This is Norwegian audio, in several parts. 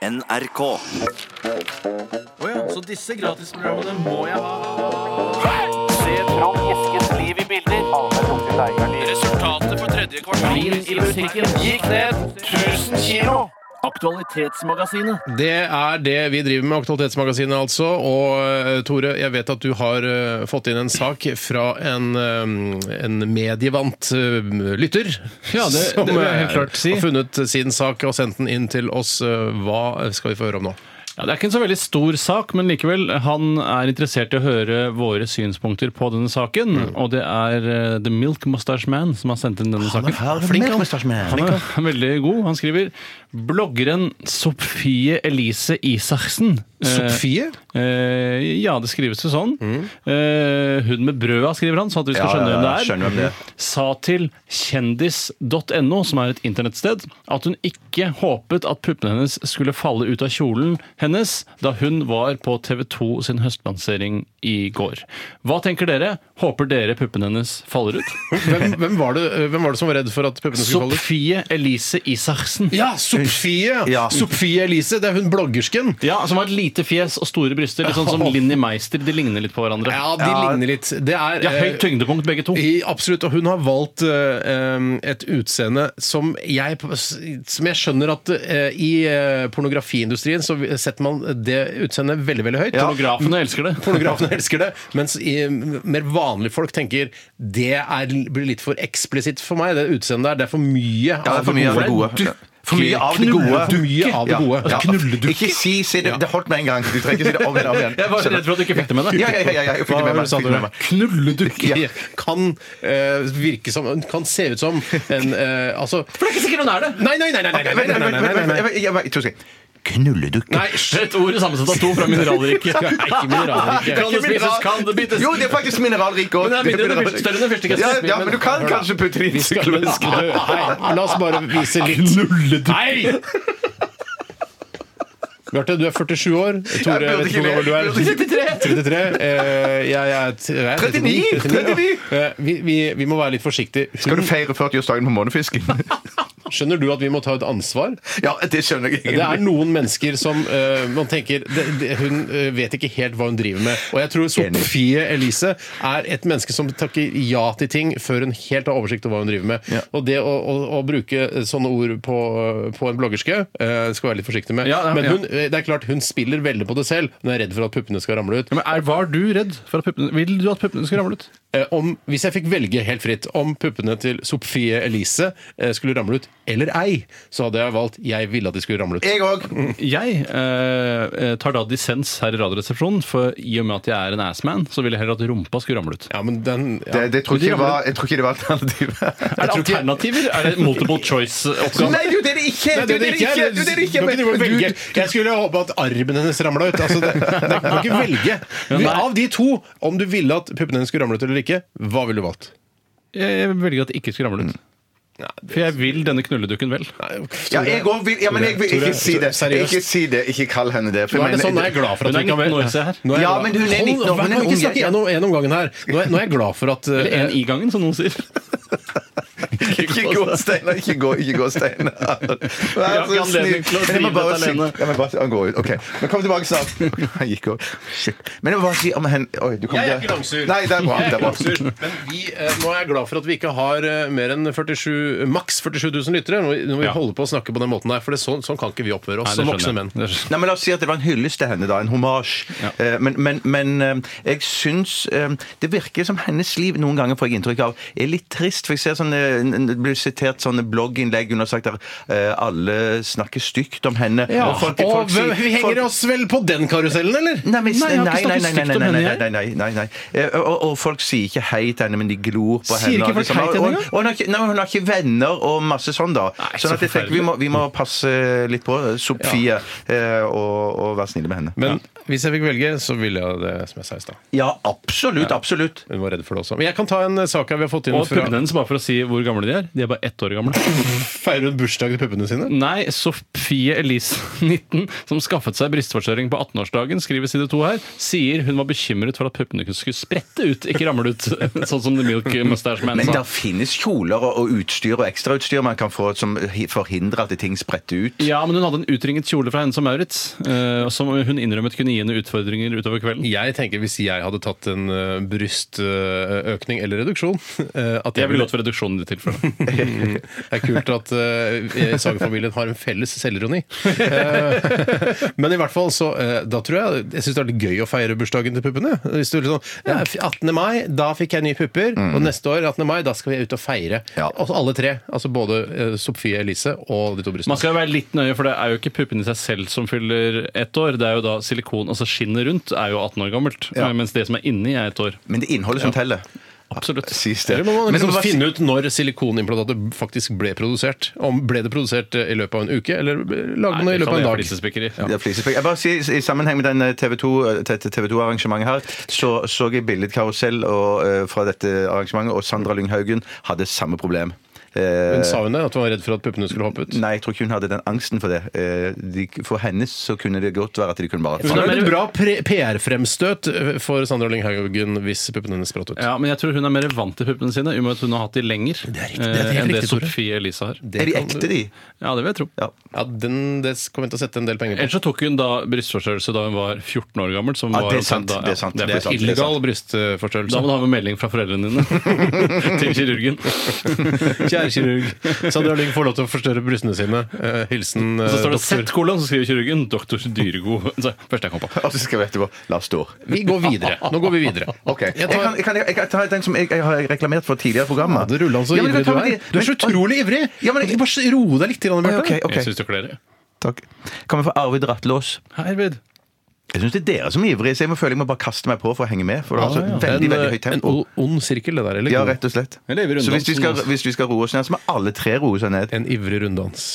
NRK. Å ja, så disse gratisprogrammene må jeg ha. Se fram Eskens liv i bilder. Resultatet for tredje kvartal i musikken gikk ned 1000 kilo. Aktualitetsmagasinet. Det er det vi driver med, Aktualitetsmagasinet altså. Og eh, Tore, jeg vet at du har eh, fått inn en sak fra en, eh, en medievant eh, lytter. Ja, det- det vil jeg helt eh, klart si. har funnet sin sak og sendt den inn til oss. Eh, Hva skal vi få høre om nå? Ja, det er ikke en så veldig stor sak, men likevel. Han er interessert i å høre våre synspunkter på denne saken. Mm. Og det er eh, The Milk Mustache Man som har sendt inn denne saken. Han er veldig god. Han skriver bloggeren Sofie Elise Isaksen. Sofie? Eh, eh, ja, det skrives jo sånn. Eh, hun med brøda, skriver han, sånn at vi skal Ja, skjønne ja, ja, hvem det skjønner hvem det er. Sa til kjendis.no, som er et internettsted, at hun ikke håpet at puppene hennes skulle falle ut av kjolen hennes da hun var på TV 2 sin høstlansering i går. Hva tenker dere? Håper dere puppene hennes faller ut? Hvem, hvem, var det, eh, hvem var det som var redd for at puppene skulle falle? ut? Sofie Elise Isaksen. Ja, Sofie! Ja. Sofie Elise, det er hun bloggersken. Ja, som har et lite fjes og store bryster. Litt sånn som Linni Meister. De ligner litt på hverandre. Ja, de ligner litt. Det er De har eh, høyt tyngdepunkt, begge to. I, absolutt, og hun har valgt eh, em, et utseende som jeg, som jeg skjønner at eh, i eh, pornografiindustrien så setter man det utseendet veldig, veldig høyt. Pornografene elsker det. Pornografene elsker det, mens i, mer vanlige folk tenker det er, blir litt for eksplisitt for meg, det utseendet der. Det er for mye Ja, det er for mye av det gode. For mye av det gode. Knulledukke. Mye av det gode. Ja. Knulledukke. Ikke si, si det. Det holdt med en gang. Du trenger ikke si det om igjen. Om igjen. Jeg var redd for at du ikke fikk det med deg. Ja, ja, ja, ja, jeg fikk det med meg. Hva sa fikk det du? med meg. Knulledukke Ja. kan eh, virke som Kan se ut som en eh, Altså For det er ikke sikkert hun er det! Nei, nei, nei! nei, nei, nei, nei, Vent, vent, nei, vent, nei, nei, vent, nei. vent, jeg- jeg- to sekunder. Knulledukke. Nei, Et ord sammensatt av to fra mineralriket. Det er ikke mineralrikke. Kan det spises, kan det bites? Jo, det er faktisk mineralrik òg. Men det er mindre enn en fyr- større enn en fyrstikk. Ja, ja, men du kan kanskje putte det inn i sykloen. Nei, la oss bare vise litt Nei! Bjarte, du er 47 år. Tore, jeg Jeg burde vet ikke ikke hvor gammel du er. le. 33. Eh, jeg er t- jeg er 39, 39. Eh, Vi, vi, vi må være litt forsiktige. Skal du Hun, feire 40-årsdagen på månefisken? skjønner du at vi må ta et ansvar? Ja, det skjønner jeg Det er egentlig. noen mennesker som eh, man tenker det, det, Hun eh, vet ikke helt hva hun driver med. Og jeg tror Enig. Sofie Elise er et menneske som takker ja til ting før hun helt har oversikt over hva hun driver med. Ja. Og det å, å, å bruke sånne ord på, på en bloggerske eh, skal være litt forsiktig med. Ja, ja, Men ja. hun, eh, det er klart hun spiller veldig på det selv. Hun er redd for at puppene skal ramle ut. Men er, Var du redd for at puppene Vil du at puppene skulle ramle ut? Eh, om, hvis jeg fikk velge helt fritt om puppene til Sofie Elise eh, skulle ramle ut eller ei, så hadde jeg valgt 'jeg ville at de skulle ramle ut'. Jeg òg. Jeg eh, tar da dissens her i Radioresepsjonen, for i og med at jeg er en assman, så vil jeg heller at rumpa skulle ramle ut. Ja, men den, ja. Det, det tror Men de ikke jeg ramler. var- jeg tror ikke det var alternativet. Er det alternativer? Er det multiple choice-oppgave? Nei, jo, det er det ikke! Nei, Det er det ikke! jeg- Det er det ikke! Du kan ikke men- velge. Jeg skulle håpe at armen hennes ramla ut. Altså, det, det, du kan ikke velge. Vi, nei. av de to, om du ville at puppene hennes skulle ramle ut eller ikke, hva ville du valgt? Jeg jeg velger at det ikke skulle ramle ut. For jeg vil denne knulledukken vel. Ja, jeg òg vil Ja, men jeg vil ikke Tore, si det. seriøst. Ikke si det. Ikke kall henne det. for Nå jeg er det mener- sånn, nå er jeg glad for Hun at vi er ikke har 19 år, se her. Nå er jeg Ja, glad- men hun er Hold- 19 år, Vær hun nå ikke er ung, snakk jeg- gjennom en om gangen her. Nå er, nå er jeg glad for at Eller eh, en i gangen, som noen sier. Ikke gå, Steinar. Ikke gå, ikke gå, Steinar. Vær ikke så anledning snill. til å Men jeg drive må bare dette si alene. Jeg må bare, si- Han går ut. OK. Men kom tilbake snart. Han gikk òg. Shit. Men jeg må bare si om henne Oi, du kom Jeg er der. ikke langsur. Nei, det er bra. Jeg er Det er bra. langsur. Men vi, eh, nå er jeg glad for at vi ikke har eh, mer enn 47, maks 47 000 lyttere når vi, når vi Ja. holder på å snakke på den måten der. For det, sånn, sånn kan ikke vi oppføre oss som voksne menn. Nei, men La oss si at det var en hyllest til henne, da. En hommage. Ja. Eh, Men, men, men eh, jeg syns eh, Det virker som hennes liv noen ganger får jeg inntrykk av er litt trist. For jeg ser sånne, n- n- det blir sitert sånne blogginnlegg hun har sagt der eh, alle snakker stygt om henne. Ja, og sier- vi henger folk- oss vel på den karusellen, eller? Nei, men, Nei, jeg har nei, ikke nei, snakket nei, nei, stygt om nei, nei, henne, nei, nei, nei, nei. Eh, Og, og folk sier ikke hei til henne, men de glor på Sier henne. ikke og folk hei til henne og- og hun har ikke- Nei, hun har ikke venner og masse sånn, da. Nei, så sånn at jeg tenker vi må, vi må passe litt på Sofie eh, og, og være snille med henne. Men hvis jeg fikk velge, så ville jeg det som jeg sa i stad. Ja, absolutt, absolutt. Hun var redd for det også. Men jeg kan ta en eh, sak her vi har fått inn Og fra puppene hennes, bare for å si hvor gamle de de er? De er bare ett år gamle. Feirer hun bursdag til puppene sine? Nei, Sofie Elise, 19, som skaffet seg brystforstørring på 18-årsdagen, skriver side 2 her, sier hun var bekymret for at puppene skulle sprette ut, ikke ramle ut, sånn som The Milk Mustache Man Men sa. der finnes kjoler og- og utstyr og ekstrautstyr man kan få som hi- forhindrer at ting spretter ut. Ja, men hun hadde en utringet kjole fra henne som Maurits, eh, som hun innrømmet kunne gi henne utfordringer utover kvelden. Jeg tenker Hvis jeg hadde tatt en eh, ø, brystøkning eller reduksjon ø, at Jeg ville gått for reduksjonen i det tilfellet. Det er kult at uh, Sagerfamilien har en felles selvironi. Eh, men i hvert fall så eh, Da tror jeg jeg syns det er litt gøy å feire bursdagen til puppene. Hvis du er litt sånn, ja, 18. mai, da fikk jeg nye pupper. Og neste år, 18. mai, da skal vi ut og feire. Ja. Altså alle tre. Altså både eh, Sofie Elise og de to brystene. Man skal jo være litt nøye, for det er jo ikke puppene i seg selv som fyller ett år. Det er jo da silikon, altså skinnet rundt, er jo 18 år gammelt. Ja. Mens det som er inni, er ett år. Men det er innholdet som teller. Absolutt. Sies det. Eller må man Men liksom det var- finne ut når silikonimplantatet faktisk ble produsert? Om Ble det produsert eh, i løpet av en uke, eller lagde man det i løpet av en dag? dag. Det er flisespikker. Jeg bare sier, I sammenheng med den eh, TV 2-arrangementet her, så så jeg billedkarusell og, eh, fra dette arrangementet, og Sandra Lynghaugen hadde samme problem. Eh, Men sa hun det? At hun var redd for at puppene skulle hoppe ut? Nei, jeg tror ikke hun hadde den angsten for det. Eh, De, for hennes så kunne det godt være at de kunne bare Hun Hun er er mer- et bra pre- PR-fremstøt for Sandra Lynghaugen hvis puppene hennes spratt ut. Ja, men jeg tror hun er mer vant til puppene sine, i og med at hun har hatt de lenger Det er riktig, det er helt eh, enn det riktig, Tore. Sofie Elise har. Er de ekte, de? Ja, det vil jeg tro. Ja. Ja, den, det kommer jeg til å sette en del penger på. Ellers så tok hun da brystforstørrelse da hun var 14 år gammel. Som Ja, var det er sant, omtrent da, det er sant, det det er er sant. Illegal Da brystforstørrelse. må du ha med melding fra foreldrene dine til kirurgen. Kjære kirurg, Sandra Lyng får lov til å forstørre brystene sine. Eh, hilsen eh, Så står det doktor. Z kolon, så skriver kirurgen doktor Dyregod. Så, Første jeg kom på. Og så skal vi etterpå. La oss stå. Vi går videre. Nå går vi videre. Ok. Jeg, Jeg kan, tar, jeg, kan, jeg kan ta den som jeg, jeg har reklamert for tidligere i programmet. det ruller han så Ja, men ivrig jeg du kan ta er. med de- Du er så men- utrolig ivrig! Ja, men- Ikke Bare ro deg litt, grann, Bjarte. Ok, ok. Jeg syns du klarer det. Takk. Kommer fra Arvid Rattlås. Hei, Arvid. Jeg syns det er dere som er ivrige, så jeg må føle jeg må bare kaste meg på for å henge med. For det har så Ja, ja. veldig, En, veldig høyt eh, En tempo. o- ond sirkel, det der. Eller? Ja, rett og slett. Jeg lever unna Så hvis vi skal, sånn, altså. hvis vi skal roe oss ned, så må alle tre roe seg ned. En ivrig runddans.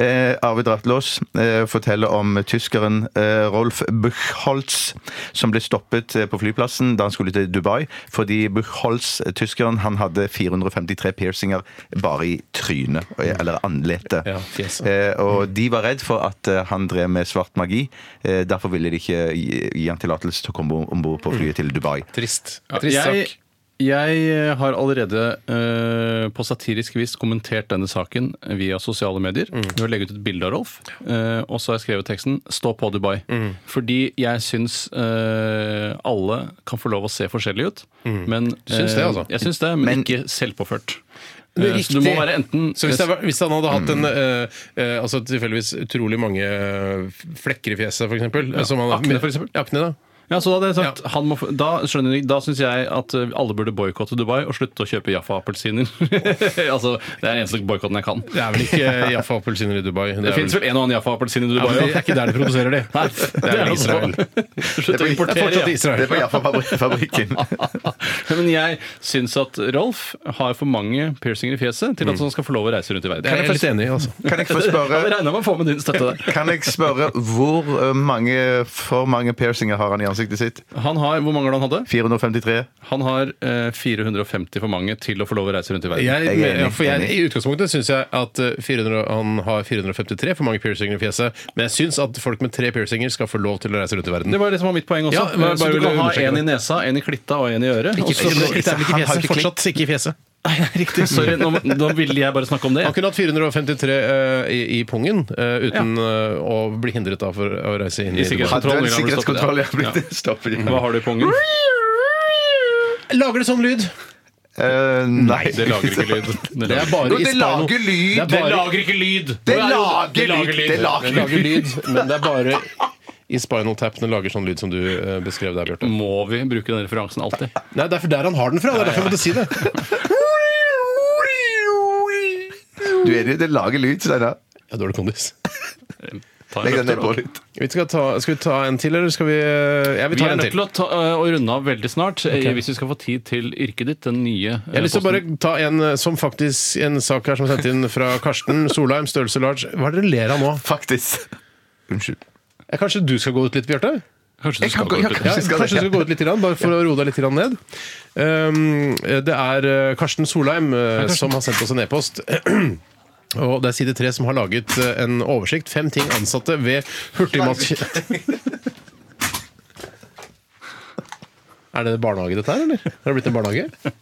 Eh, Arvid Rattlås eh, forteller om tyskeren eh, Rolf Buchholz som ble stoppet eh, på flyplassen da han skulle til Dubai, fordi Buchholz, eh, tyskeren, han hadde 453 piercinger bare i trynet, eh, eller andletet. Ja, fjeset. eh, og de var redd for at eh, han drev med svart magi, eh, derfor ville de ikke gi, gi han tillatelse til å komme om bord på flyet til Dubai. Trist. Ja, Trist jeg, sak. jeg har allerede eh, på satirisk vis kommentert denne saken via sosiale medier. Mm. Ved å legge ut et bilde av Rolf. eh, og så har jeg skrevet teksten 'Stå på Dubai'. Mm. Fordi jeg syns eh, alle kan få lov å se forskjellig ut. Men, Mm. syns det, eh, altså? Jeg syns det, men, Men- ikke selvpåført. Det er Eh, så du må riktig. være enten Så hvis, det, var- hvis han hadde hatt en eh, eh, altså tilfeldigvis utrolig mange eh, flekker i fjeset, eh, f.eks. akne, for eksempel. Akne, da. Ja, så Da hadde jeg sagt, han må, få- da skjønner jeg, da syns jeg at eh, alle burde boikotte Dubai og slutte å kjøpe Jaffa-appelsiner. altså, Det er den eneste boikotten jeg kan. Det er vel ikke Jaffa appelsiner i Dubai? Det, fins vel en og annen Jaffa-appelsin i Dubai? det er ikke der de produserer de. Nei, det er vel altså- Israel. Slutt å Det er importere ja. fortsatt Det Israel. var Jaffa-fabrikken. Men jeg syns at Rolf har for mange piercinger i fjeset til at han skal få lov å reise rundt i verden. Det er Mm. jeg litt enig i, altså. Kan jeg få Jeg spørre hadde regna med å få med din støtte der. Kan jeg spørre hvor eh, mange for mange piercinger har han i ansiktet sitt? Han har, Hvor mange har han hadde? 453? Han har eh, 450 for mange til å få lov å reise rundt i verden. Jeg, Jeg er enig, ja, for jeg, enig. I utgangspunktet syns jeg at eh, 400, han har 453 for mange piercinger i fjeset, men jeg syns at folk med tre piercinger skal få lov til å reise rundt i verden. Det var det som var mitt poeng også. Ja, men jeg så bare du kan ville ha understreke en i det. nesa, en i klitta og en i øret. Ikke, Og så- ikke, ikke, ikke, ikke i Han har fjeset, ikke klipp. fortsatt ikke i fjeset. Nei, riktig. Sorry, nå, nå ville jeg bare snakke om det. Han kunne hatt 453 eh, i, i pungen eh, uten eh, å bli hindret da for å reise inn I i Dubai. sikkerhet. Hadde Kontroll, en Norge har blitt sikkerhetskontroll ja, stoppet, ja. blitt stoppet. Hva har du i pungen? Lager det sånn lyd? Eh, nei. Det lager ikke lyd. Det Det lager- er bare Jo, det Hispano- lager Det, lyd. er bare, Det lager ikke lyd! Det lager Det lager lyd. Det lager- det lager lyd, men det er bare i Spinal Tapene lager sånn lyd som du eh, beskrev der, Bjarte. Må vi bruke den referansen alltid? Nei, det er for der han har den fra. Det er derfor jeg måtte si det. Du er enig i at det lager lyd, Steinar? Jeg har dårlig kondis. Ta Legg en den ned på øl. litt. Vi skal, ta, skal vi ta en til, eller skal vi Jeg vil Vi ta er en nødt til til. å, ta, eh, å runde av veldig snart, eh, hvis vi skal få tid til yrket ditt. Den nye eh, Jeg har lyst til å bare ta en eh, som faktisk en sak her som er sendt inn fra Karsten Solheim, størrelse large. Hva er det dere ler av nå? Faktisk. Unnskyld. Eh, Kanskje du skal gå ut litt, Bjarte? Kanskje Jeg du skal kan gå- gå ut jeg kan- litt. Ja, kanskje du skal gå ut litt, grann, bare for å roe deg litt grann ned. Um, det er eh, Karsten Solheim eh, som har sendt oss en e-post. Og det er Side 3 som har laget eh, en oversikt. Fem ting ansatte ved hurtigmatkjeden. Er det barnehage, dette her, eller? Har det blitt en barnehage?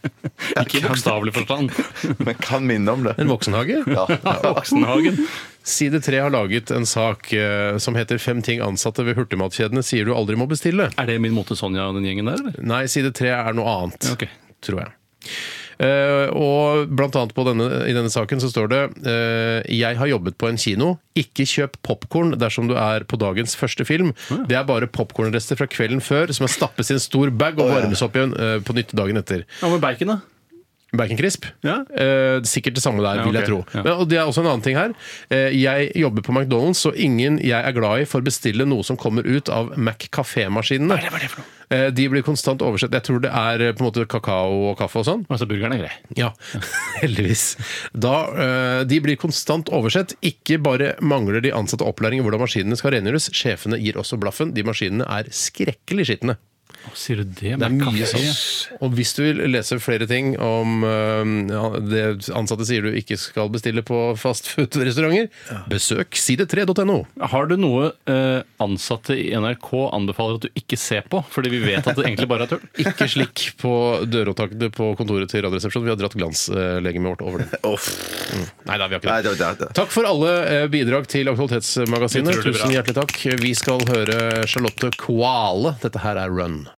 Ikke i bokstavelig forstand. Men kan minne om det. En voksenhage? Ja. Voksenhagen. Side 3 har laget en sak eh, som heter 'Fem ting ansatte ved hurtigmatkjedene sier du aldri må bestille'. Er det min måte Sonja og den gjengen der, eller? Nei, side 3 er noe annet. Ok. tror jeg. Eh, og blant annet på denne, i denne saken så står det eh, Jeg har jobbet på en kino. Ikke kjøp popkorn dersom du er på dagens første film. Det er bare popkornrester fra kvelden før som er stappes i en stor bag og varmes opp igjen eh, på nytt dagen etter. Hva med bacon, da? Bacon crisp. Ja. Eh, sikkert det samme der, Ja, vil jeg ok. tro. Ja. Men, og det er også en annen ting her. Eh, jeg jobber på McDonald's, og ingen jeg er glad i, får bestille noe som kommer ut av Mac-kafé-maskinene. Eh, de blir konstant oversett. Jeg tror det er eh, på en måte kakao og kaffe og sånn. Altså, burgeren er grei. Ja, heldigvis. Da, eh, de blir konstant oversett. Ikke bare mangler de ansatte opplæring i hvordan maskinene skal rengjøres, sjefene gir også blaffen. De maskinene er skrekkelig skitne. Å, Sier du det? Det er Med mye kaffe? sånn. Og hvis du vil lese flere ting om eh, ja, det ansatte sier du ikke skal bestille på fastfood-restauranter, besøk side3.no. Har du noe eh, ansatte i NRK anbefaler at du ikke ser på? Fordi vi vet at det egentlig bare er tull. Ikke slikk på dørhåndtakene på kontoret til Radioresepsjonen. Vi har dratt glanslegemet vårt over det. Nei da, vi har ikke det. Nei, det var det. Takk for alle eh, bidrag til Aktualitetsmagasinet. Utrolig bra. Tusen hjertelig takk. Vi skal høre Charlotte Koale. Dette her er Run.